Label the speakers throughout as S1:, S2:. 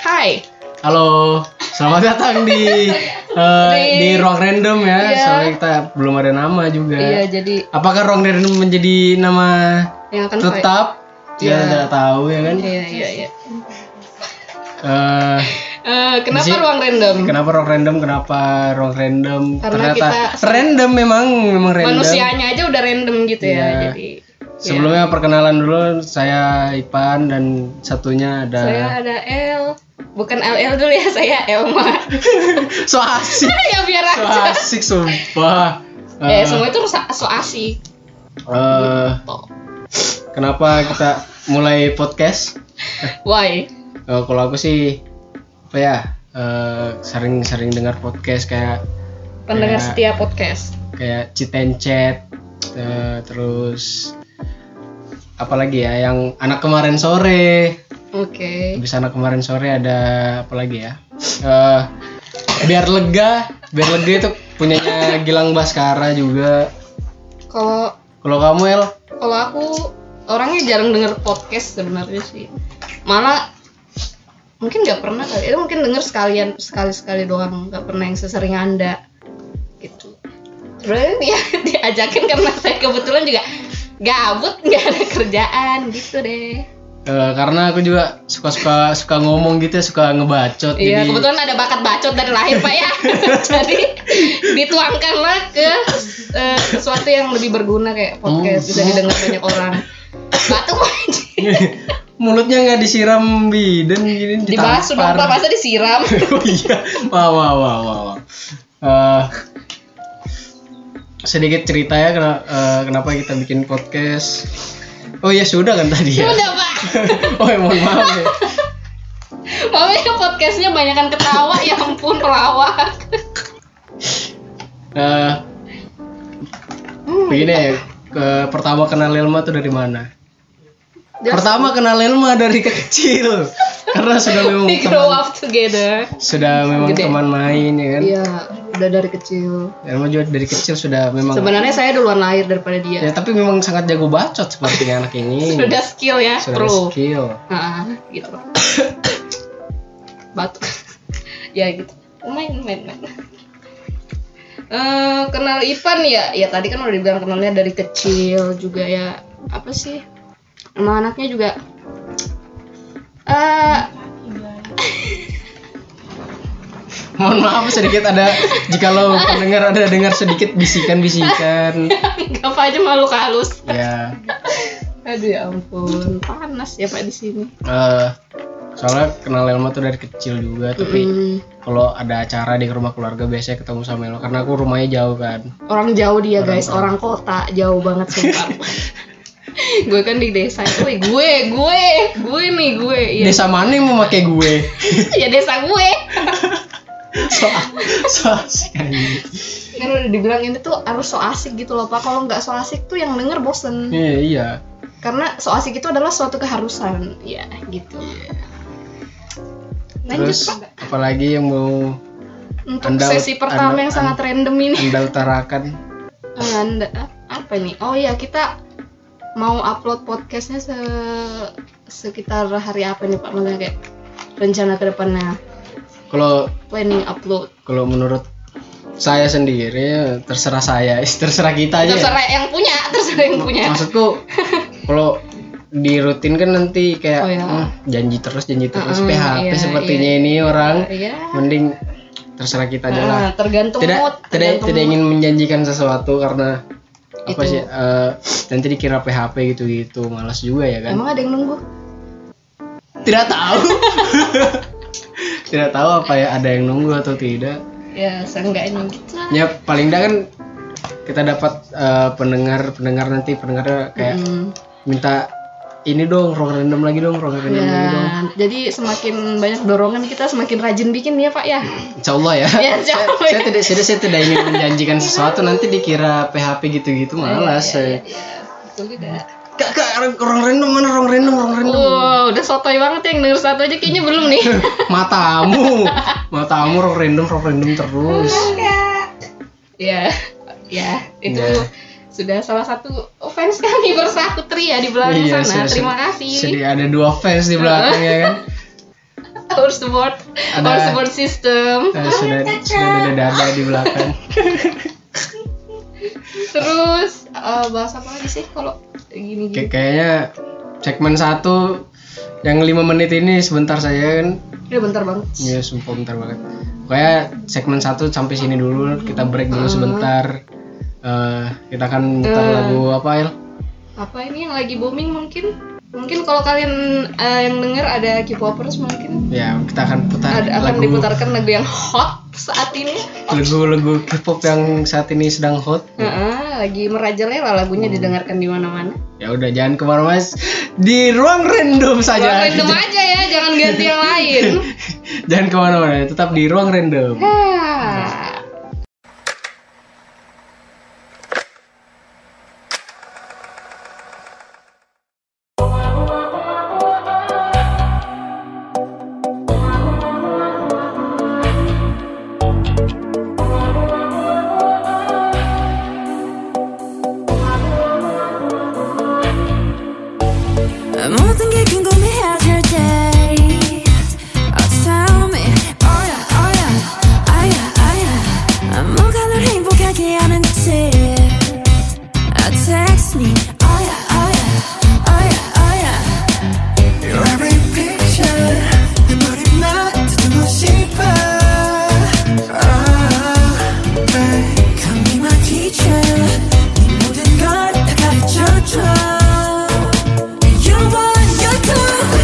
S1: Hai.
S2: Halo, selamat datang di eh,
S1: Di-
S2: di ruang random ya.
S1: Iya.
S2: Soalnya kita belum ada nama juga.
S1: Iya, jadi
S2: Apakah ruang random menjadi nama
S1: yang akan
S2: tetap?
S1: ya? Iya.
S2: Ya tidak tahu ya kan.
S1: Iya, iya, iya.
S2: Eh,
S1: Eh, kenapa
S2: Jadi-
S1: ruang random?
S2: kenapa ruang random? Kenapa ruang random?
S1: Karena
S2: Ternyata
S1: kita-
S2: random memang memang random.
S1: Manusianya aja udah random gitu ya.
S2: Iya.
S1: Jadi
S2: Sebelumnya perkenalan dulu saya Ipan dan satunya ada
S1: saya ada L. Bukan LL dulu ya, saya Elma.
S2: so asik,
S1: ya biar
S2: so
S1: aja.
S2: asik sumpah.
S1: Eh,
S2: Eh,
S1: semua itu rusak so asik. gitu.
S2: eh,
S1: Toh.
S2: kenapa kita mulai podcast?
S1: Why?
S2: Eh, kalau aku sih apa ya eh, sering-sering dengar podcast kayak
S1: Pendengar
S2: Iya.
S1: setia podcast.
S2: kayak Citencet eh, terus apalagi ya yang anak kemarin sore
S1: Oke.
S2: habis anak kemarin sore ada apalagi ya Eh, biar lega biar lega itu punyanya Gilang Baskara juga
S1: Kalau
S2: kalau kamu El
S1: kalau aku orangnya jarang denger podcast sebenarnya sih. Malah mungkin nggak pernah kali. Itu mungkin denger sekalian sekali-sekali doang, nggak pernah yang sesering Anda. Gitu. Terus ya diajakin karena saya kebetulan juga gabut, nggak ada kerjaan gitu deh.
S2: Eh, karena aku juga suka suka suka ngomong gitu ya suka ngebacot
S1: Iya,
S2: jadi
S1: kebetulan ada bakat bacot dari lahir, Pak ya. Jadi dituangkanlah ke eh, sesuatu yang lebih berguna kayak podcast bisa didengar banyak orang. Batuk Pak Haji.
S2: mulutnya nggak disiram biden gini
S1: dibahas sudah
S2: ditampar.
S1: Pak masa disiram.
S2: oh iya wah wah wah wah, wah. Eh, sedikit cerita ya kena- eh, kenapa kita bikin podcast oh iya sudah kan tadi ya
S1: Udah, Pak.
S2: oh ya, mohon maaf ya
S1: Mami podcastnya banyakan ketawa, ya ampun pelawak.
S2: Eh,
S1: Hmm,
S2: begini ya ke- pertama kenal Elma tuh dari mana
S1: jelas.
S2: pertama kenal Elma dari kecil karena sudah memang
S1: We grow
S2: teman,
S1: up together.
S2: sudah memang
S1: Gede.
S2: teman main ya kan
S1: Iya, udah dari kecil.
S2: Elma juga dari kecil sudah memang
S1: Sebenarnya saya duluan lahir daripada dia.
S2: ya tapi memang sangat jago bacot sepertinya anak ini
S1: Sudah skill ya,
S2: Iya. sudah ada
S1: pro.
S2: skill
S1: Ah, gitu. Batuk. ya gitu. Main, main, main. Eh, kenal Ivan ya, ya tadi kan udah dibilang kenalnya dari kecil juga ya. Apa sih? Emang anaknya juga. Eh,
S2: mohon maaf sedikit ada jikalau pendengar ada dengar sedikit bisikan-bisikan
S1: nggak apa aja malu halus.
S2: ya
S1: Aduh ya ampun, panas ya Pak di sini.
S2: eh, soalnya kenal Elma tuh dari kecil juga tapi
S1: Mm,
S2: kalau ada acara di rumah keluarga biasanya ketemu sama Elma karena aku rumahnya jauh kan
S1: orang jauh dia guys, orang kota jauh banget sumpah. gue kan di desa itu, wih, gue, gue, gue nih gue, iya.
S2: desa mana yang memakai gue
S1: ya desa gue.
S2: so, so asik anjing.
S1: Kan udah dibilang ini tuh harus so asik gitu loh pak. Kalau nggak so asik tuh yang denger bosen.
S2: iya iya
S1: Karena so asik itu adalah suatu keharusan, ya gitu. Lanjut
S2: Iya. terus
S1: pak.
S2: apalagi yang mau
S1: Untuk
S2: Anda-
S1: sesi pertama
S2: Anda-
S1: yang sangat random ini.
S2: anda utarakan
S1: Anda apa nih? Oh iya kita mau upload podcastnya se sekitar hari apa nih Pak? Maksudnya kayak rencana kedepannya
S2: kalau
S1: planning upload.
S2: kalau menurut saya sendiri terserah saya terserah kita aja ya.
S1: Terserah yang punya, terserah yang punya.
S2: maksudku kalau di rutin kan nanti kayak
S1: Oh, iya.
S2: "Hmm, janji terus janji terus
S1: Mm-mm,
S2: PHP
S1: iya,
S2: sepertinya ini orang
S1: Iya.
S2: mending terserah kita aja lah
S1: Ah, tergantung
S2: tidak
S1: mood.
S2: tidak
S1: tergantung
S2: tidak ingin menjanjikan sesuatu karena
S1: Itu.
S2: apa sih eh, nanti dikira PHP gitu gitu malas juga ya
S1: mood.
S2: kan
S1: Emang ada yang nunggu?
S2: tidak tahu tidak tahu apa ya ada yang nunggu atau tidak
S1: Ya, seenggaknya gitu.
S2: ya paling tidak kan kita dapat pendengar pendengar nanti pendengar kayak
S1: Hmm.
S2: minta ini dong ruang random lagi dong ruang random lagi dong
S1: Ya, jadi semakin banyak dorongan kita semakin rajin bikin ya Pak ya.
S2: Insya Allah ya.
S1: Ya, insya
S2: saya,
S1: Allah.
S2: saya tidak saya, saya tidak ingin menjanjikan sesuatu nanti dikira PHP gitu-gitu
S1: Ya,
S2: malas. saya.
S1: Betul tidak.
S2: Kak, kak, orang- orang random mana orang random orang random.
S1: Wow, udah sotoy banget ya, yang denger satu aja kayaknya belum nih.
S2: Matamu, matamu orang random orang random terus.
S1: ya ya itu
S2: Ya.
S1: sudah salah satu fans kami bersatu tri ya di belakang sana
S2: Iya, sudah-
S1: terima
S2: sudah-
S1: kasih
S2: Sudah ada dua fans di belakang ya kan.
S1: our support
S2: Ada-
S1: our support system
S2: Eh, sudah sudah ada dada di belakang.
S1: terus eh, bahas apa lagi sih kalau gini
S2: Kayak-
S1: gini
S2: kayaknya segmen satu yang lima menit ini sebentar saya kan
S1: ya bentar banget
S2: ya sumpah bentar banget pokoknya segmen satu sampai sini dulu kita break dulu
S1: Hmm.
S2: sebentar Eh, kita akan mutar lagu apa El?
S1: apa ini yang lagi booming mungkin mungkin kalau kalian eh, yang denger ada K-popers mungkin
S2: ya kita akan putar
S1: ada akan
S2: lagu
S1: diputarkan lagu yang hot saat ini
S2: lagu-lagu K-pop yang saat ini sedang hot
S1: Heeh, lagi merajalela lagunya
S2: Hmm.
S1: didengarkan di mana-mana
S2: ya udah jangan kemana mas di ruang random
S1: Jangan
S2: saja
S1: random aja ya, jangan ganti yang lain.
S2: jangan kemana-mana tetap di ruang random
S1: Hah.
S3: 모든 게 궁금해하실 때 어서 tell me 어라 어라 아야 아야 뭐가 널 행복하게 하는지 Uh, text me 어야 어야 어야 어야
S4: Your every picture 내 머리 놔두고 싶어 Oh, babe
S3: Come be my teacher 네 모든 걸 다 가르쳐줘 You want you do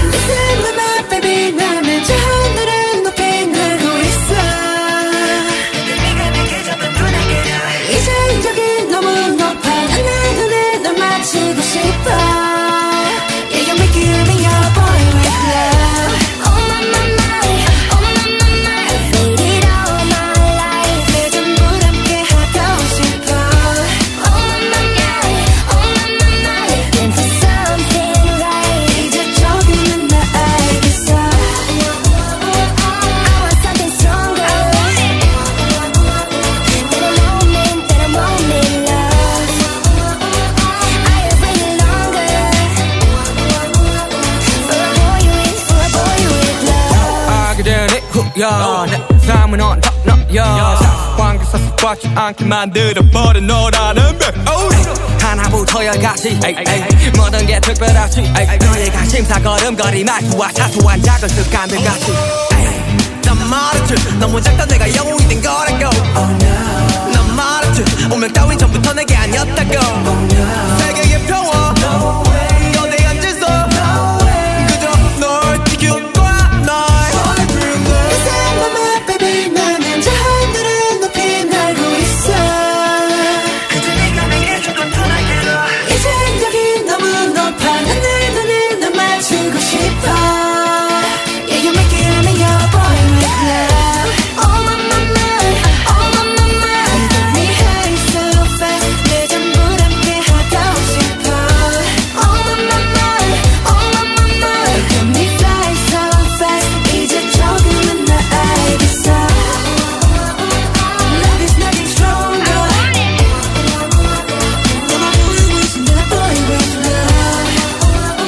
S4: Listen to my baby 난 매주 하늘을 높이 날고 있어
S3: 내가 내게 잡은 분에게 날
S4: 이제 여기 너무 높아 난내 눈에 널 맞추고 싶어 Yeah, you're making me your boy with love
S3: Oh my my my, oh my my my, I need it all my life.
S4: 내 전부 함께 하고 싶어
S3: Oh my my my, oh my my my, into something right.
S4: 이제 조금은 나 알겠어
S3: I want something stronger. I want it. That I'm moment, that I'm moment, love. I am waiting longer for a boy with, for a boy with love.
S5: 알게 되니 후여 내 삶은 언덕너여 상황에서 속박지 않게 만들어버린 너라는 백오스 하나부터 열까지 에이, 에이. 모든 게 특별하지 에이. 너희가 심사걸음거리 말투와 사소한 작은 습관들 같이 에이. 난 말했지 너무 작다 내가 영웅이 된 거라고 난 말했지 운명 따윈 전부터 내게 아니었다고 세계의 평화 거대한 질서 그저 널 지킬 거야 날
S4: 이상한 baby 나는 저 하늘을 높이 날고 있어
S5: 그저 네가 내게 조금 편하게 놔
S4: 이제 여기 너무 높아 난내 눈에 널 맞추고 싶어 Yeah you're making me your boy with love
S3: Oh my my my, oh my my my.
S4: You got me high so fast 내 전부 함께 하고 싶어
S3: Oh my my my, oh my my my.
S4: You got me fly so fast 이제 조금은 나 알겠어 Love is nothing
S3: I
S4: stronger
S3: want it.
S4: You're my boy with love, boy with love.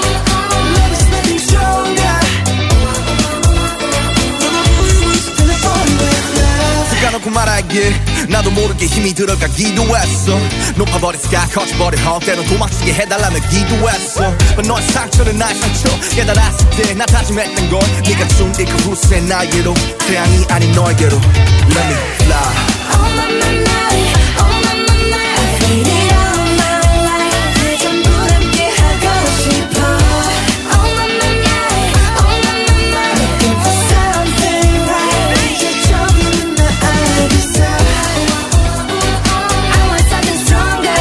S4: Love is nothing stronger. You're my boy with love, boy with love.
S6: 까놓고 말하길 나도 모르게 힘이 들어가 기도했어 높아버린 sky 커져버린 헛 때론 도망치게 해달라며 기도했어 But 너의 상처는 나의 상처 깨달았을 때나 다짐했던 건 네가 준이 그 후세 나에게로 태양이 아닌 너에게로 Let me fly
S3: Oh my my my, oh my my my.
S4: Need it all my life. 내 전부 함께 하고 싶어.
S3: Oh my my my, oh my my my.
S4: Looking for something right. 이제 조금은 나 알겠어.
S3: I want something stronger.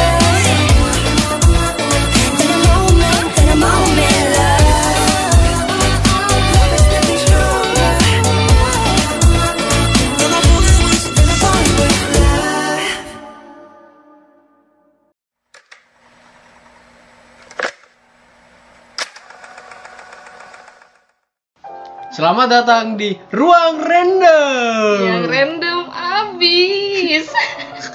S4: In a moment, in a moment, love. Love is nothing stronger. You're my boy with, you're my boy with love.
S2: selamat datang di ruang random
S1: Yang random abis.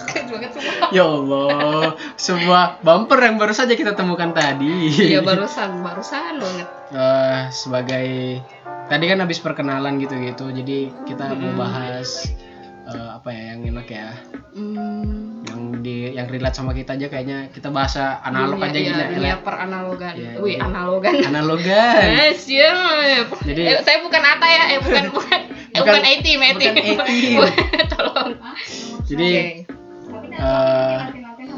S1: Kedua banget sumpah.
S2: Ya Allah, sebuah bumper yang baru saja kita temukan tadi.
S1: Iya barusan, barusan banget.
S2: Eh, sebagai tadi kan habis perkenalan gitu-gitu, jadi kita mau bahas eh, apa ya yang enak ya,
S1: Hmm,
S2: yang di yang relate sama kita aja kayaknya kita bahasa analog
S1: dunia-
S2: aja ya,
S1: iya,
S2: gila.
S1: dunia peranalogan.
S2: Iya,
S1: Wih,
S2: jadi-
S1: analogan.
S2: Analogan.
S1: Eh, siap.
S2: Jadi-
S1: Eh, saya bukan Ata ya, eh bukan bukan eh, bukan
S2: Bukan-
S1: A-team, A-team.
S2: bukan A-team.
S1: Tolong.
S2: Jadi eh,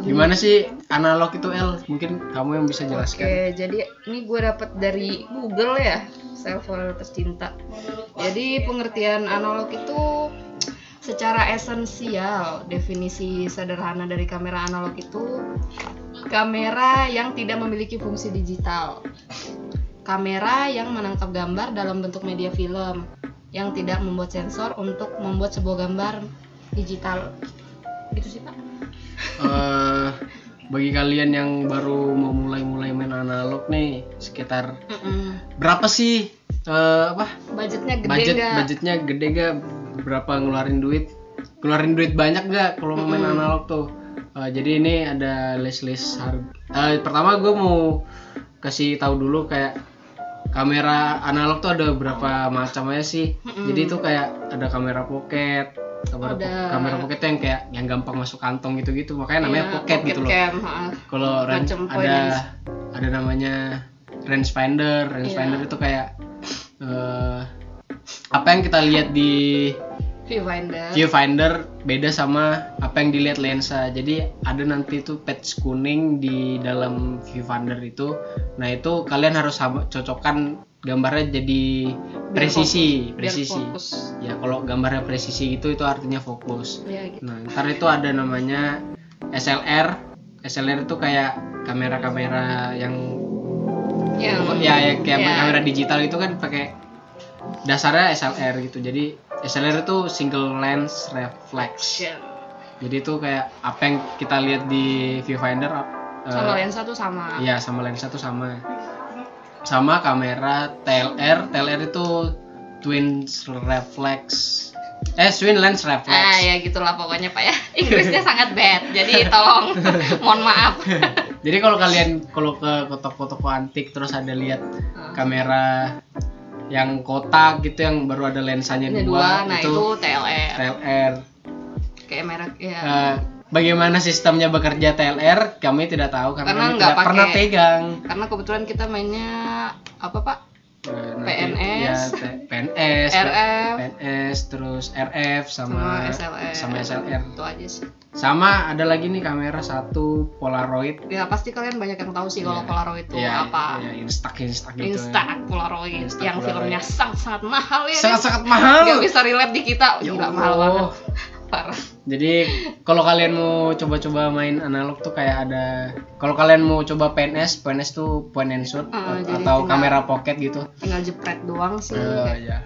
S2: gimana sih analog itu L? Mungkin kamu yang bisa
S1: Oke,
S2: jelaskan.
S1: jadi ini gue dapat dari Google ya, server pecinta. Jadi pengertian analog itu secara esensial definisi sederhana dari kamera analog itu kamera yang tidak memiliki fungsi digital. Kamera yang menangkap gambar dalam bentuk media film yang tidak membuat sensor untuk membuat sebuah gambar digital. Gitu sih, Pak.
S2: eh bagi kalian yang baru mau mulai-mulai main analog nih, sekitar
S1: Mm-mm.
S2: berapa sih eh, apa
S1: Budgetnya gede
S2: budget
S1: nggak?
S2: budgetnya gede gak berapa ngeluarin duit ngeluarin duit banyak gak kalau mau
S1: Hmm.
S2: main analog tuh Eh, jadi ini ada list list harga Eh, pertama gue mau kasih tahu dulu kayak kamera analog tuh ada berapa macam aja sih jadi itu kayak ada kamera pocket kamera, po-
S1: Hmm. Ada.
S2: kamera pocket yang kayak yang gampang masuk kantong gitu gitu makanya namanya
S1: Iya,
S2: pocket, gitu loh
S1: cam, ha.
S2: kalau range
S1: Macam point
S2: ada
S1: range.
S2: ada namanya range finder range
S1: Iya.
S2: finder itu kayak eh, apa yang kita lihat di
S1: viewfinder.
S2: viewfinder beda sama apa yang dilihat lensa jadi ada nanti itu patch kuning di dalam viewfinder itu nah itu kalian harus sama- cocokkan gambarnya jadi presisi
S1: fokus, biar
S2: presisi
S1: fokus.
S2: ya kalau gambarnya presisi gitu, itu itu artinya fokus
S1: Ya, gitu.
S2: Nah, ntar itu ada namanya SLR. SLR itu kayak kamera-kamera yang
S1: Yang
S2: ya, ya kayak
S1: ya.
S2: kamera digital itu kan pakai dasarnya SLR gitu. Jadi SLR itu single lens reflex.
S1: action.
S2: Jadi itu kayak apa yang kita lihat di viewfinder eh,
S1: Sama ya? lensa tuh sama.
S2: Iya, sama lensa tuh sama. Sama kamera TLR, TLR itu twin reflex. Eh, twin lens reflex.
S1: Ah ya gitulah pokoknya Pak ya. Inggrisnya sangat bad. Jadi tolong mohon maaf.
S2: Jadi kalau kalian kalau ke ke toko-toko antik terus ada lihat
S1: Ah.
S2: kamera yang kotak gitu yang baru ada lensanya
S1: Ada
S2: dua,
S1: dua, nah
S2: itu,
S1: itu, TLR.
S2: TLR.
S1: Kayak merek ya.
S2: Eh, bagaimana sistemnya bekerja TLR? Kami tidak tahu karena,
S1: Karena
S2: kami
S1: nggak
S2: tidak pernah
S1: pakai.
S2: pegang.
S1: Karena kebetulan kita mainnya apa Pak?
S2: Eh,
S1: PNS.
S2: ya, T- PNS,
S1: RF.
S2: PNS, terus RF
S1: Sama
S2: sama
S1: SLR.
S2: sama SLR.
S1: Itu aja sih.
S2: Sama ada lagi nih kamera satu Polaroid.
S1: Ya pasti kalian banyak yang tahu sih kalau
S2: Ya.
S1: Polaroid itu
S2: Ya,
S1: apa.
S2: ya, Instax Instax gitu.
S1: Insta Polaroid
S2: Instax
S1: yang
S2: Polaroid.
S1: filmnya sangat-sangat mahal ya.
S2: Sangat-sangat mahal.
S1: Gak bisa relate di kita.
S2: Ya
S1: Gila
S2: Allah.
S1: mahal banget. Parah.
S2: Jadi kalau kalian mau coba-coba main analog tuh kayak ada kalau kalian mau coba PNS, PNS tuh point and shoot
S1: Ah, jadi tinggal-
S2: atau kamera pocket gitu.
S1: Tinggal jepret doang sih.
S2: Eh,
S1: kayak
S2: ya.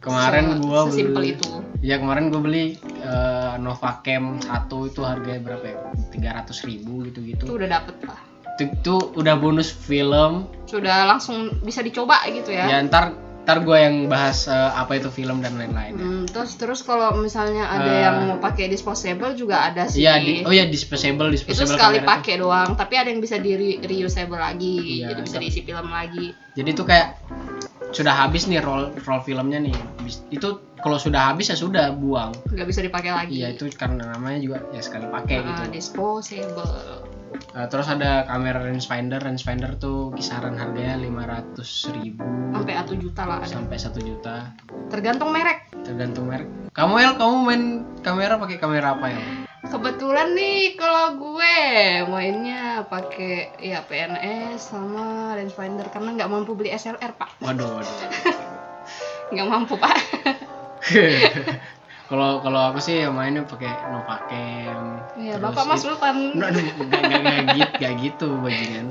S2: Kemarin
S1: se-
S2: gua
S1: sesimpel
S2: beli
S1: itu.
S2: Ya kemarin gue beli eh, Novacam 1 itu harganya berapa ya? 300 ribu
S1: itu
S2: gitu-gitu.
S1: udah dapet lah.
S2: Itu, itu udah bonus film.
S1: Sudah langsung bisa dicoba gitu
S2: Ya,
S1: ya.
S2: ntar ntar gue yang bahas eh, apa itu film dan lain-lain.
S1: Hmm, terus terus kalau misalnya ada
S2: Eh.
S1: yang mau pakai disposable juga ada sih.
S2: Iya, di, oh ya disposable,
S1: itu
S2: disposable
S1: sekali
S2: kamera tuh.
S1: pakai doang, tapi ada yang bisa di re- reusable lagi,
S2: Iya,
S1: jadi bisa
S2: itu.
S1: diisi film lagi.
S2: Jadi itu kayak sudah habis nih roll roll filmnya nih. Habis- Itu kalau sudah habis ya sudah buang.
S1: nggak bisa dipakai lagi.
S2: Iya itu karena namanya juga ya sekali
S1: Ah,
S2: pakai gitu.
S1: disposable.
S2: Nah, terus ada kamera range finder, range finder tuh kisaran harganya 500.000 ribu
S1: Sampai 1 juta lah ada.
S2: sampai 1 juta
S1: Tergantung merek.
S2: tergantung merek. Kamu El, kamu main kamera pakai kamera apa El?
S1: Kebetulan nih kalau gue mainnya pakai ya PNS sama lens finder karena nggak mampu beli SLR, Pak.
S2: Waduh, waduh.
S1: Nggak mampu, Pak.
S2: Kalau kalau aku sih yang mainnya pakai Novacam.
S1: Ya,
S2: Terus
S1: Bapak Mas
S2: itu-
S1: Sultan.
S2: Nggak, nggak, nggak, nggak, nggak gitu, nggak gitu bajingan.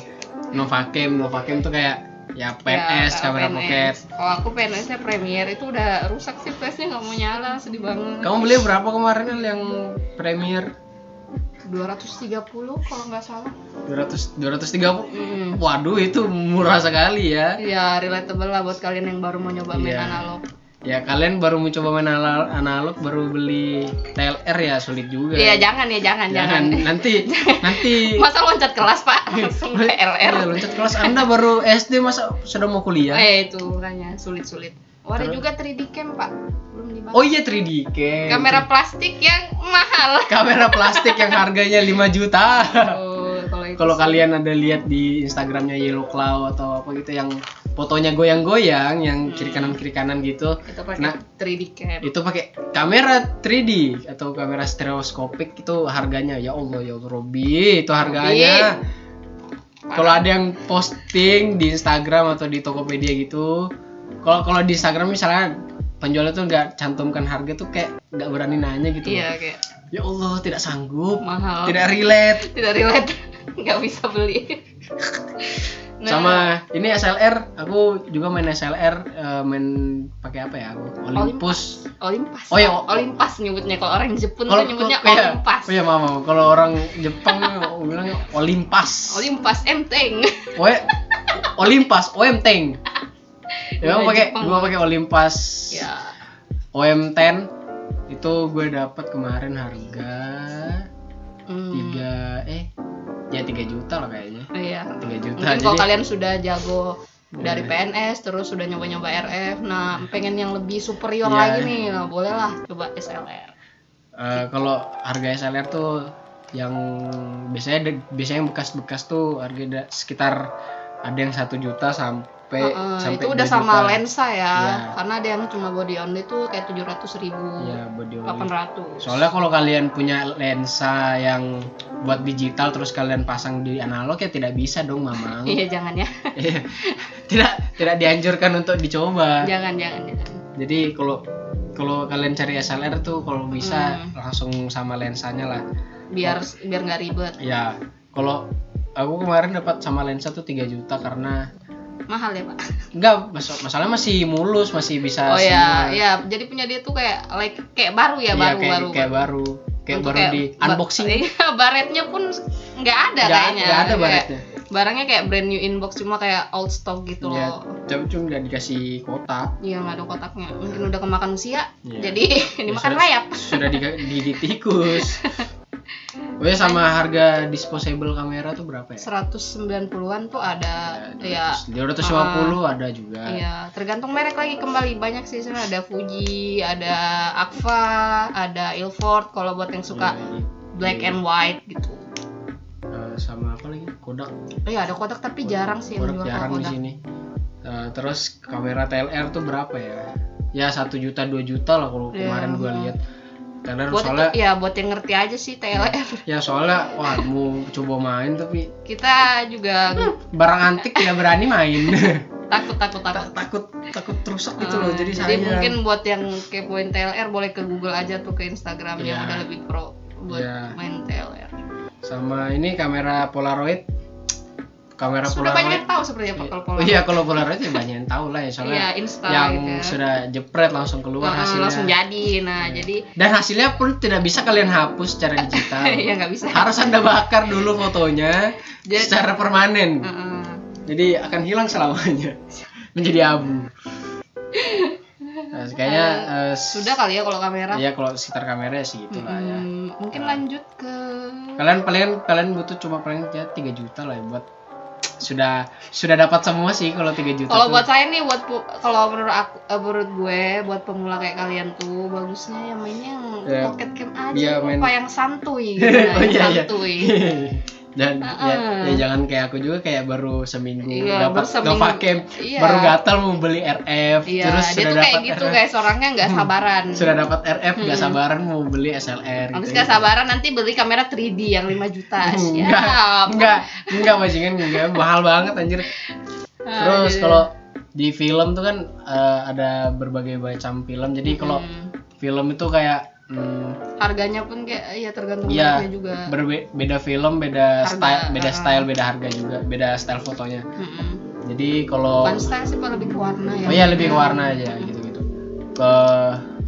S2: Novacam, Novacam tuh kayak ya PNS,
S1: Ya,
S2: kamera
S1: PNS.
S2: pocket.
S1: Kalau aku PNS-nya Premiere itu udah rusak sih flashnya nggak mau nyala, sedih banget.
S2: Kamu beli berapa kemarin El, yang Premier?
S1: 230 kalau nggak salah.
S2: 200 230.
S1: Hmm.
S2: Waduh, itu murah sekali ya.
S1: Ya relatable lah buat kalian yang baru mau nyoba main
S2: Iya.
S1: analog.
S2: Ya kalian baru mau coba main anal- analog baru beli TLR ya sulit juga.
S1: Iya jangan ya jangan jangan.
S2: Nanti nanti
S1: Masa loncat kelas pak langsung ke LR.
S2: Iya, loncat kelas Anda baru SD masa sudah mau kuliah.
S1: Eh itu makanya sulit-sulit. Oh, ada
S2: Ya? Terus?
S1: juga 3D cam pak, belum dibangun.
S2: Oh iya 3D cam.
S1: Kamera plastik yang mahal.
S2: kamera plastik yang harganya 5 juta.
S1: Oh, kalau itu
S2: Kalau
S1: sih.
S2: kalian ada lihat di Instagramnya Yellow Claw atau apa gitu yang fotonya goyang-goyang yang kiri
S1: Hmm.
S2: kanan kiri kanan gitu.
S1: itu pakai
S2: Nah,
S1: 3D cam.
S2: itu pakai kamera 3D atau kamera stereoskopik itu harganya ya Allah ya Allah Robi itu harganya kalau ada yang posting di Instagram atau di Tokopedia gitu kalau kalau di Instagram misalnya penjualnya tuh nggak cantumkan harga tuh kayak nggak berani nanya gitu
S1: Iya kayak
S2: ya Allah tidak sanggup
S1: mahal.
S2: tidak relate
S1: Tidak relate, nggak bisa beli. Nah,
S2: sama ini SLR aku juga main SLR eh, main pakai apa ya aku Olympus.
S1: Olimpas.
S2: Oh, iya, o-
S1: Olimpas nyebutnya kalau orang Jepun tuh nyebutnya
S2: kalau- iya.
S1: Olimpas.
S2: Oh iya, maaf, maaf. Kalau orang Jepang bilangnya Olimpas.
S1: Olimpas enteng.
S2: Oe, Olimpas, OMTeng. Ya,
S1: Orang
S2: gua pakai
S1: Iya, Jepang.
S2: gua pakai Olimpas
S1: ya,
S2: OM10 itu gue dapat kemarin harga
S1: hmm,
S2: tiga eh ya 3 juta lah kayaknya.
S1: Iya.
S2: 3 juta.
S1: Mungkin kalau
S2: Jadi-
S1: kalian sudah jago dari
S2: Iya.
S1: PNS terus sudah nyoba-nyoba RF, nah pengen yang lebih superior
S2: Iya.
S1: lagi nih, nah, bolehlah coba SLR.
S2: Eh, kalau harga SLR tuh yang biasanya de- biasanya yang bekas-bekas tuh harga da- sekitar ada yang satu juta sampai
S1: Heeh,
S2: sampai
S1: itu udah
S2: 2
S1: sama
S2: juta.
S1: lensa ya,
S2: Iya.
S1: karena ada yang cuma body only tuh kayak tujuh ratus ribu,
S2: Iya, body only.
S1: delapan ratus.
S2: Soalnya kalau kalian punya lensa yang buat digital terus kalian pasang di analog ya tidak bisa dong mamang.
S1: Iya jangan ya,
S2: Iya. tidak tidak dianjurkan untuk dicoba.
S1: jangan jangan jangan.
S2: Jadi kalau kalau kalian cari SLR tuh kalau bisa
S1: Hmm.
S2: langsung sama lensanya lah.
S1: Biar
S2: Iya.
S1: biar nggak ribet,
S2: Ya, kalau aku kemarin dapat sama lensa tuh 3 juta karena
S1: mahal ya pak.
S2: Iya, enggak mas- masalahnya masih mulus, masih
S1: Oh
S2: bisa
S1: ya,
S2: semua.
S1: ya. Jadi punya dia tuh kayak like kayak baru ya,
S2: Iya,
S1: baru
S2: kayak,
S1: baru.
S2: kayak baru. Kayak
S1: Untuk
S2: baru di
S1: ba-
S2: unboxing.
S1: Iya, baretnya pun nggak ada
S2: Nggak-
S1: kayaknya. iya.
S2: nggak ada
S1: Kayak
S2: baretnya.
S1: Barangnya kayak brand new inbox cuma kayak old stock gitu
S2: Ya,
S1: loh.
S2: tapi cuma nggak dikasih kotak.
S1: Iya nggak ada kotaknya. Mungkin udah kemakan usia.
S2: Iya.
S1: Jadi dimakan
S2: sudah-
S1: layap.
S2: Sudah diga- digigit tikus. Oh ya sama harga disposable kamera tuh berapa ya?
S1: 190-an tuh
S2: Iya,
S1: ada ya.
S2: 250 ada juga.
S1: Ah. Iya, tergantung merek lagi kembali banyak sih sana ada Fuji, ada Aqua, ada Ilford kalau buat yang suka
S2: Iya,
S1: black
S2: iya.
S1: and white gitu.
S2: Eh, sama apa lagi? Kodak.
S1: Oh iya ada kotak tapi jarang sih yang
S2: Kodak
S1: jual
S2: jarang
S1: kalau
S2: di
S1: kotak.
S2: sini. Eh, terus kamera TLR tuh berapa ya? Ya satu juta dua juta lah kalau
S1: Iya.
S2: kemarin gua lihat. TLR
S1: Buat
S2: soalnya
S1: itu, ya buat yang ngerti aja sih TLR.
S2: ya soalnya wah mau coba main tapi
S1: kita juga
S2: Hmm. barang antik tidak berani main.
S1: takut takut takut
S2: takut takut rusak gitu
S1: Eh,
S2: loh. Jadi, saya
S1: mungkin buat yang kepoin TLR boleh ke Google aja tuh ke Instagram yang
S2: Iya.
S1: udah lebih pro buat
S2: Iya.
S1: main TLR.
S2: sama ini kamera Polaroid. Kamera
S1: Sudah banyak
S2: Polaroid.
S1: yang tahu sepertinya Pak kalau pola.
S2: Oh ya? Iya kalau Polaroid ya banyak yang tahu lah ya soalnya
S1: Iya, Insta
S2: yang
S1: gitu ya.
S2: sudah jepret langsung keluar
S1: Nah,
S2: hasilnya. Iya.
S1: langsung jadi. Nah, jadi
S2: Dan hasilnya pun tidak bisa kalian hapus secara digital.
S1: ya nggak bisa.
S2: Harus anda bakar dulu
S1: Iya.
S2: fotonya
S1: Jadi-
S2: secara permanen.
S1: Heeh.
S2: Jadi akan hilang selamanya menjadi abu. Nah, kayaknya eh, s-
S1: sudah kali ya kalau kamera.
S2: ya kalau sekitar kamera sih gitulah ya.
S1: Hmm, mungkin lanjut ke
S2: Kalian paling kalian butuh cuma paling ya 3 juta lah ya buat sudah sudah dapat semua sih kalau 3 juta
S1: kalau
S2: tuh.
S1: buat saya nih buat pu- kalau menurut aku eh, menurut gue buat pemula kayak kalian tuh bagusnya yang mainnya yang
S2: Ya,
S1: pocket cam
S2: iya,
S1: aja
S2: main-
S1: apa yang santuy gitu, nah,
S2: Oh,
S1: yang
S2: iya, iya.
S1: santuy
S2: Dan ya,
S1: Heeh.
S2: ya jangan kayak aku juga kayak baru seminggu
S1: Iya,
S2: dapat
S1: baru seminggu.
S2: Nova Camp,
S1: Iya.
S2: baru gatal mau beli RF,
S1: Iya,
S2: terus
S1: dia
S2: sudah
S1: tuh
S2: dapat
S1: kayak gitu
S2: RF,
S1: guys, orangnya nggak sabaran.
S2: sudah dapat RF nggak sabaran mau beli SLR
S1: Habis
S2: gitu.
S1: Hmm. nggak ya sabaran nanti beli kamera 3D yang 5 juta.
S2: Enggak,
S1: Siap.
S2: enggak, enggak bajingan enggak, mahal banget anjir.
S1: Ah,
S2: Terus
S1: jadi-
S2: kalau di film tuh kan eh, ada berbagai macam film. Jadi kalau
S1: Hmm.
S2: film itu kayak hmm,
S1: harganya pun kayak ya tergantung
S2: Iya,
S1: mereknya juga.
S2: berbe- beda film, beda
S1: Harga,
S2: style, beda
S1: ah.
S2: style, beda harga juga, beda style fotonya.
S1: Mm-mm.
S2: Jadi kalau
S1: Hmm. Bukan style sih, Pak, lebih ke warna ya.
S2: iya, Oh iya lebih ke warna aja gitu gitu. Ke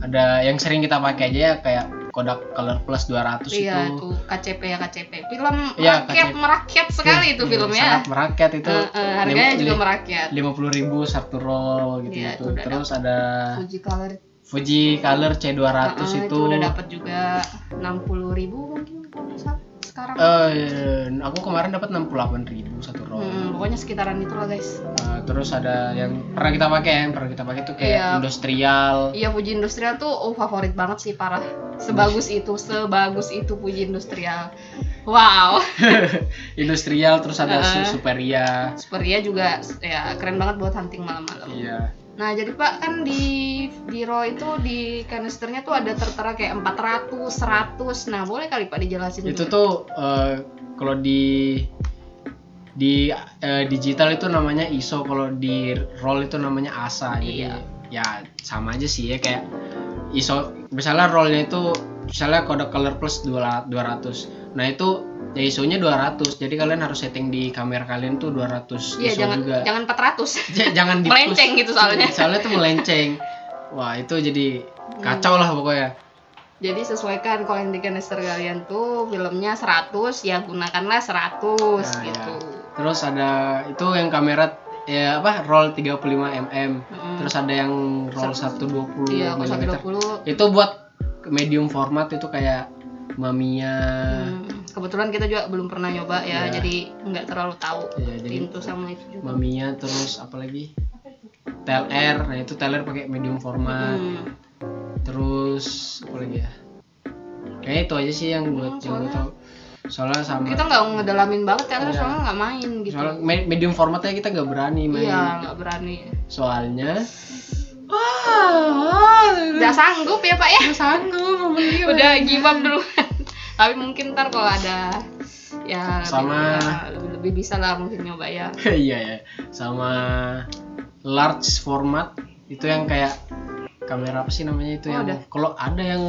S2: ada yang sering kita pakai aja ya kayak Kodak Color Plus 200
S1: iya
S2: itu.
S1: itu KCP ya KCP film
S2: Iya,
S1: merakyat
S2: KCP.
S1: merakyat sekali itu
S2: Iya,
S1: filmnya
S2: Sangat merakyat itu.
S1: Eh, eh, harganya juga merakyat
S2: Lima puluh ribu satu roll gitu
S1: Iya,
S2: gitu.
S1: itu udah
S2: Terus ada
S1: Fuji Color
S2: Fuji Color C 200
S1: eh, eh,
S2: itu.
S1: udah dapat juga 60.000 ribu mungkin kalau nggak salah sekarang
S2: Eh, aku kemarin dapat enam puluh ribu satu roll.
S1: Hmm, pokoknya sekitaran itulah guys
S2: Eh, terus ada yang pernah kita pakai yang pernah kita pakai tuh kayak
S1: Iya.
S2: industrial.
S1: Iya Puji Industrial tuh oh favorit banget sih parah. Sebagus
S2: Iya.
S1: itu, sebagus itu Puji Industrial. Wow.
S2: industrial terus ada
S1: Heeh.
S2: su- Superia.
S1: Superia juga ya keren banget buat hunting malam-malam.
S2: Iya.
S1: Nah, jadi Pak kan di Giro itu di kanisternya tuh ada tertera kayak 400, 100. Nah, boleh kali Pak dijelasin
S2: Itu
S1: dulu?
S2: tuh eh, kalau di di eh, digital itu namanya ISO, kalau di roll itu namanya ASA. Jadi
S1: Iya.
S2: ya sama aja sih ya kayak ISO misalnya rollnya itu misalnya kode color plus 200. Nah, itu ya ISO-nya 200. Jadi kalian harus setting di kamera kalian tuh 200
S1: Iya,
S2: ISO
S1: jangan
S2: juga.
S1: jangan 400.
S2: J- jangan di-push.
S1: Melenceng gitu soalnya.
S2: Soalnya tuh melenceng. Wah, itu jadi kacau lah pokoknya.
S1: Jadi sesuaikan kalau yang di kanister kalian tuh filmnya 100, ya gunakanlah 100
S2: Nah,
S1: gitu.
S2: ya. Terus ada itu yang kamera ya apa roll 35 mm.
S1: Mm.
S2: Terus ada yang roll 120
S1: Iya, kalau
S2: mm.
S1: 120
S2: Itu buat medium format itu kayak Mamiya.
S1: Hmm, kebetulan kita juga belum pernah nyoba ya,
S2: Iya.
S1: jadi nggak terlalu tahu
S2: Iya, jadi-
S1: pintu sama itu juga.
S2: Mamiya terus apa lagi? TLR. Nah, itu TLR pakai medium format.
S1: Hmm,
S2: Terus apa lagi ya? Kayaknya itu aja sih yang
S1: Hmm,
S2: buat yang gue
S1: soalnya-
S2: tahu. Soalnya sama
S1: Kita nggak ngedalamin banget ya, karena
S2: Iya.
S1: soalnya nggak main gitu.
S2: soalnya me- medium formatnya kita nggak berani main.
S1: Iya, nggak berani.
S2: Soalnya
S1: Nggak sanggup ya Pak ya? sanggup, udah give up dulu. Tapi mungkin ntar kalau ada ya lebih-
S2: Sama-
S1: ya, lebih, lebih bisa lah mungkin nyoba ya.
S2: iya ya sama large format itu yang kayak kamera apa sih namanya itu
S1: Oh,
S2: yang
S1: ada. Oh.
S2: kalau ada yang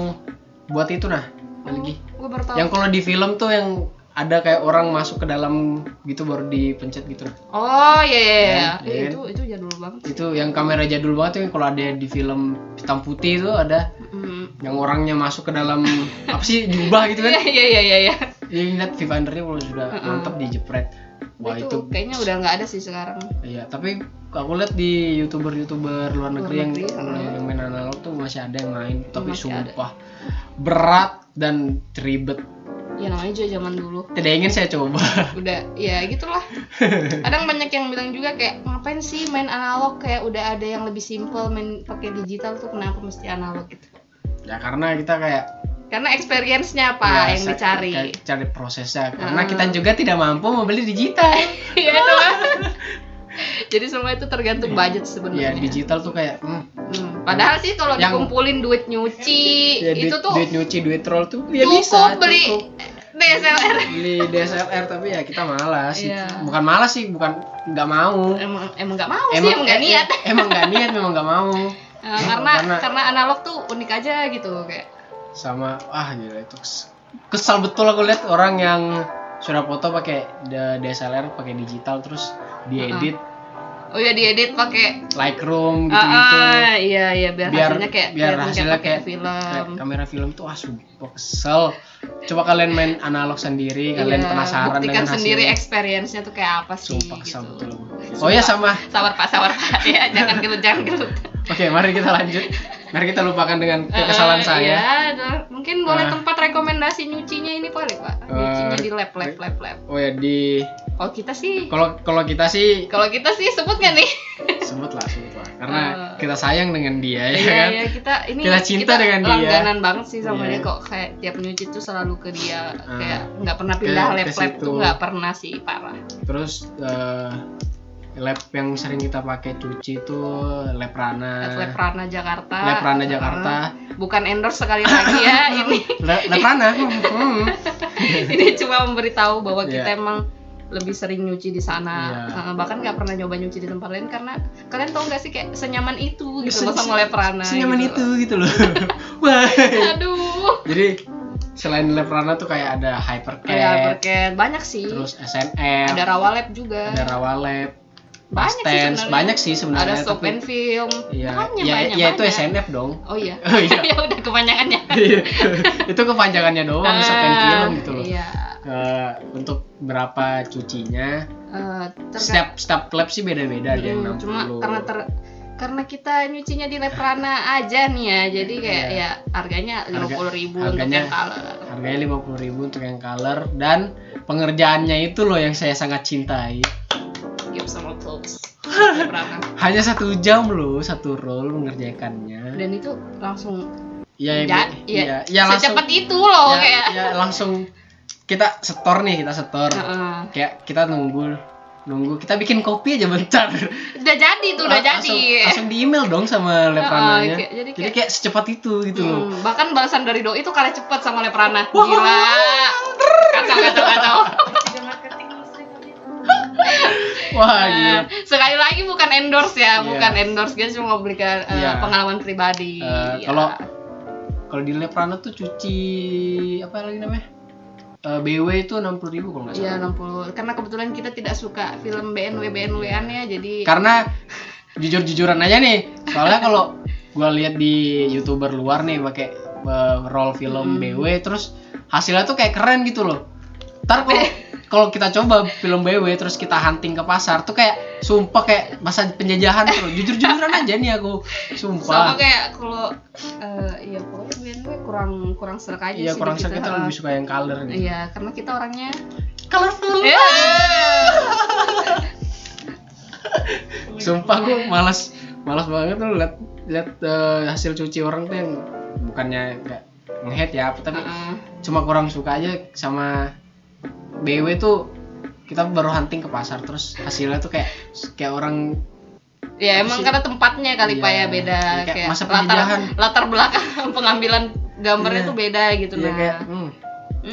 S2: buat itu nah ada lagi
S1: Gue baru tahu.
S2: yang kalau di film tuh yang ada kayak orang masuk ke dalam gitu baru dipencet gitu nah.
S1: Oh iya iya iya.
S2: Iya, iya
S1: Eh,
S2: kan?
S1: Itu itu jadul banget.
S2: itu yang kamera jadul banget tuh yang kalau ada di film hitam putih itu ada
S1: Hmm.
S2: yang orangnya masuk ke dalam apa sih diubah gitu kan
S1: Iya iya iya iya, iya.
S2: jadi lihat vivandernya kalau sudah
S1: Mm-mm.
S2: mantap dijepret wah
S1: itu,
S2: itu
S1: kayaknya udah nggak ada sih sekarang.
S2: Iya, tapi aku lihat di youtuber-youtuber luar negeri yang,
S1: negeri,
S2: yang,
S1: heeh.
S2: main analog tuh masih ada yang main, tapi
S1: Masih ada.
S2: sumpah berat dan ribet.
S1: Ya namanya juga zaman dulu.
S2: Tidak ingin saya coba.
S1: udah ya gitulah kadang banyak yang bilang juga kayak ngapain sih main analog kayak udah ada yang lebih simple main pakai digital tuh kenapa mesti analog gitu
S2: ya karena kita kayak
S1: karena experience-nya apa
S2: ya,
S1: yang
S2: sa-
S1: dicari Ah.
S2: kayak cari prosesnya. Karena
S1: Heeh.
S2: kita juga tidak mampu membeli digital.
S1: Iya, itu lah. jadi semua itu tergantung budget
S2: ya
S1: sebenarnya
S2: digital tuh kayak hmm,
S1: Hmm, padahal sih kalau
S2: Yang-
S1: dikumpulin duit nyuci
S2: ya,
S1: itu
S2: duit,
S1: tuh
S2: duit nyuci, duit roll tuh ya
S1: cukup
S2: bisa
S1: beli
S2: cukup.
S1: DSLR
S2: beli DSLR tapi ya kita malas.
S1: Iya.
S2: Bukan malas sih, bukan nggak mau.
S1: emang emang nggak mau sih emang nggak
S2: eh,
S1: niat
S2: eh, emang nggak niat, memang nggak mau.
S1: Eh, karena
S2: Karena-
S1: karena analog tuh unik aja gitu kayak
S2: sama ah gila itu kes- kesal betul aku lihat orang yang sudah foto pakai D- DSLR pakai digital terus diedit
S1: oh ya diedit pakai Ah,
S2: Lightroom gitu gitu
S1: ah, iya iya biar, hasilnya kayak
S2: biar
S1: kelihatan
S2: hasilnya
S1: pakai
S2: kayak,
S1: film.
S2: kayak kamera film tuh ah sumpah kesel coba kalian main analog sendiri kalian
S1: Iya,
S2: penasaran
S1: buktikan
S2: dengan hasilnya
S1: sendiri experience-nya tuh kayak apa sih
S2: sumpah kesel
S1: gitu.
S2: betul aku. oh ya sama
S1: Sabar Pak, sabar Pak. Ya, jangan gelut, jangan gelut.
S2: oke mari kita lanjut mari kita lupakan dengan kekesalan
S1: Eh,
S2: saya
S1: Iya, aduh. mungkin boleh
S2: Eh.
S1: tempat rekomendasi nyucinya ini boleh, Pak. Nyucinya di lab, lab, lab, lab.
S2: oh ya di
S1: Kalau kita sih
S2: kalau kalau kita sih
S1: kalau kita sih sebut nggak nih?
S2: sebutlah sebutlah karena
S1: Eh.
S2: kita sayang dengan dia ya
S1: Iya,
S2: kan
S1: iya, kita ini
S2: Kita cinta dengan dia.
S1: Langganan banget sih sama
S2: Iya.
S1: dia kok kayak tiap nyuci tuh selalu ke dia
S2: Ah.
S1: kayak nggak pernah pindah
S2: Ke- ke
S1: lab lab
S2: situ.
S1: tuh nggak pernah sih parah.
S2: terus eh, lab yang sering kita pakai cuci itu lab
S1: Lab
S2: Rana
S1: lab Prana Jakarta.
S2: Lab Prana Jakarta.
S1: Ah, bukan endorse sekali lagi ya ini.
S2: Le- lab Rana hmm.
S1: ini cuma memberitahu bahwa kita
S2: Iya.
S1: emang lebih sering nyuci di sana
S2: Iya.
S1: Eh, bahkan nggak pernah nyoba nyuci di tempat lain karena kalian tau gak sih kayak senyaman itu gitu loh sama leprana
S2: senyaman
S1: gitu
S2: itu
S1: loh.
S2: gitu loh wah
S1: aduh
S2: jadi selain lab Rana tuh kayak ada hypercat
S1: kayak berket Iya, banyak sih
S2: terus SNR
S1: ada rawalab juga
S2: ada Rawalab
S1: Banyak sih
S2: Stance,
S1: sebenarnya.
S2: banyak sih sebenarnya.
S1: Ada stop
S2: tapi-
S1: and film.
S2: Iya,
S1: Makanya
S2: ya,
S1: banyak.
S2: ya itu
S1: banyak.
S2: SNF dong.
S1: Oh iya.
S2: Oh, iya.
S1: ya udah kebanyakannya.
S2: Iya. itu kepanjangannya doang, stop and film gitu loh.
S1: Ah, Iya.
S2: Eh, untuk berapa cucinya?
S1: Eh, terga-
S2: Setiap setiap klub sih beda-beda Iya, ada yang
S1: Hmm,
S2: 60.
S1: cuma karena ter karena kita nyucinya di Leprana aja nih ya. Jadi kayak
S2: Iya.
S1: ya harganya
S2: Harga-
S1: 50.000 untuk
S2: harganya-
S1: yang color.
S2: harganya 50.000 untuk yang color dan pengerjaannya itu loh yang saya sangat cintai.
S1: Gibson Old Clothes. Leprana.
S2: Hanya satu jam loh satu roll mengerjakannya.
S1: Dan itu langsung
S2: Iya,
S1: ya,
S2: Ibu. iya,
S1: ya,
S2: iya, langsung
S1: secepat itu loh
S2: ya,
S1: kayak.
S2: ya, langsung kita setor nih, kita setor.
S1: Heeh.
S2: Kayak kita nunggu nunggu kita bikin kopi aja bentar.
S1: udah jadi tuh udah
S2: Lang-
S1: jadi.
S2: langsung, langsung di email dong sama
S1: kayak-
S2: Leprananya. jadi,
S1: jadi
S2: kayak,
S1: kayak-
S2: secepat itu gitu loh.
S1: Hmm, bahkan balasan dari doi itu kalah cepet sama Leprana.
S2: Wah.
S1: Gila. Kacau kacau kacau. Hmm. Nah,
S2: Wah
S1: iya.
S2: gila.
S1: Sekali lagi bukan endorse ya,
S2: Iya.
S1: bukan endorse guys cuma belikan eh,
S2: Iya.
S1: pengalaman pribadi. Iya.
S2: Eh, kalau kalau di Leprana tuh cuci apa lagi namanya? Eh, BW itu 60.000 kalau nggak
S1: Iya
S2: salah.
S1: 60 karena kebetulan kita tidak suka film BNW BNW annya ya, jadi
S2: Karena jujur-jujuran aja nih. Soalnya kalau gua lihat di YouTuber luar nih pakai eh, roll
S1: Hmm.
S2: film BW terus hasilnya tuh kayak keren gitu loh. Ntar kalau kalau kita coba film BW terus kita hunting ke pasar tuh kayak sumpah kayak masa penjajahan tuh. Jujur-jujuran aja nih aku.
S1: sama
S2: Sumpah.
S1: kayak kalau eh, iya pokoknya BNW kurang kurang serk aja
S2: Iya
S1: sih
S2: kurang
S1: di
S2: sakit
S1: eh,
S2: lebih suka yang color gitu.
S1: Iya, karena kita orangnya
S2: Colorful.
S1: Iya.
S2: Sumpah gue malas malas banget tuh liat liat eh, hasil cuci orang tuh yang bukannya nggak ngehead ya apa tapi
S1: Heeh.
S2: cuma kurang suka aja sama BW tuh kita baru hunting ke pasar terus hasilnya tuh kayak kayak orang
S1: Ya emang karena tempatnya kali
S2: Iya.
S1: pak ya beda
S2: Kayak
S1: kayak,
S2: masa
S1: latar
S2: penjajahan.
S1: latar belakang pengambilan gambarnya
S2: Iya.
S1: tuh beda gitu
S2: ya
S1: nah.
S2: kayak hmm,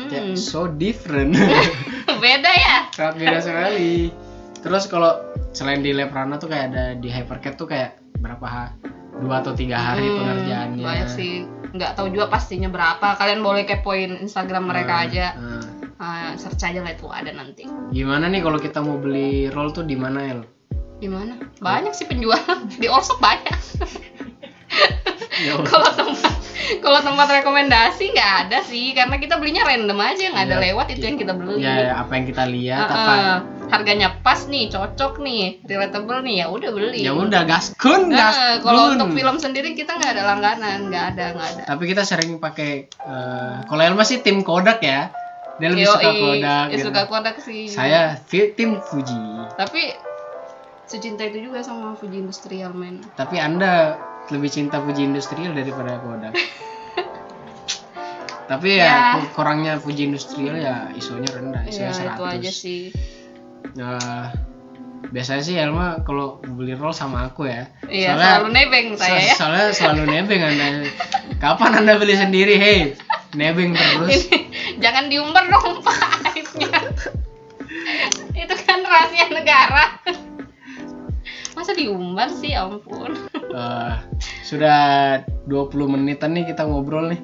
S2: kayak
S1: Hmm,
S2: so different
S1: beda ya.
S2: sangat beda sekali terus kalau selain di Leprana tuh kayak ada di Hypercat tuh kayak berapa ha- dua atau tiga hari
S1: Hmm,
S2: pengerjaannya
S1: Banyak sih nggak tahu juga pastinya berapa. Kalian boleh kepoin Instagram mereka
S2: Nah,
S1: aja.
S2: nah.
S1: Ah, search aja lah itu ada nanti.
S2: Gimana nih kalau kita mau beli roll tuh di mana El?
S1: Di mana? Banyak sih penjual di Orshop banyak.
S2: Ya Allah.
S1: kalau tempat kalau tempat rekomendasi nggak ada sih karena kita belinya random aja nggak ada
S2: Iya.
S1: lewat itu yang kita beli.
S2: Ya, ya, apa yang kita lihat
S1: Heeh.
S2: apa?
S1: harganya pas nih, cocok nih, relatable nih, ya udah beli.
S2: Ya udah gaskun,
S1: Nah,
S2: gaskun.
S1: kalau untuk film sendiri kita nggak ada langganan, nggak ada, nggak ada.
S2: Tapi kita sering pakai eh, kalau El masih tim Kodak ya. Dia lebih suka
S1: Yoi,
S2: Kodak.
S1: ya
S2: gitu.
S1: suka kodak sih.
S2: Saya fi- tim Fuji.
S1: Tapi secinta itu juga sama Fuji Industrial men.
S2: Tapi Anda lebih cinta Fuji Industrial daripada Kodak. Tapi ya,
S1: Ya.
S2: ku- kurangnya Fuji Industrial ya ISO-nya rendah, ISO
S1: Ya,
S2: 100.
S1: itu aja sih.
S2: Eh, biasanya sih Elma kalau beli roll sama aku ya.
S1: Iya,
S2: Soalnya-
S1: selalu nebeng saya ya.
S2: So- Soalnya selalu nebeng Anda. Kapan Anda beli sendiri? Hei, nebeng terus.
S1: Jangan diumbar dong Pak aibnya. itu kan rahasia negara. Masa diumbar sih, ya ampun.
S2: Eh, sudah 20 menitan nih kita ngobrol nih.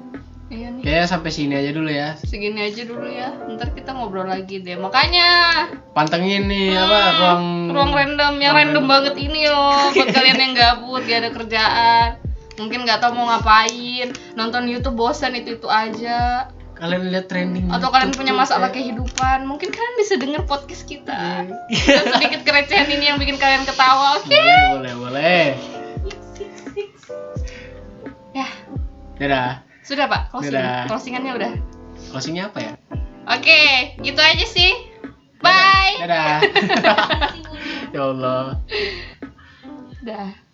S1: Iya nih.
S2: Kayaknya sampai sini aja dulu ya.
S1: segini aja dulu ya ntar kita ngobrol lagi deh makanya
S2: Pantengin nih apa ruang
S1: Hmm, ruang random yang
S2: ruang
S1: random
S2: random.
S1: banget ini loh buat kalian yang gabut gak ada kerjaan mungkin nggak tahu mau ngapain nonton YouTube bosan itu itu aja
S2: Kalian lihat trending.
S1: atau kalian
S2: YouTube
S1: punya
S2: tuh
S1: masalah
S2: kayak-
S1: kehidupan mungkin kalian bisa denger podcast kita
S2: Iya.
S1: Dan sedikit kerecehan ini yang bikin kalian ketawa oke
S2: Boleh, boleh, boleh.
S1: ya
S2: Dadah.
S1: sudah pak closing
S2: Dadah.
S1: closingannya udah
S2: Closingnya apa ya?
S1: oke gitu aja sih bye
S2: Dadah. ya Allah.
S1: dah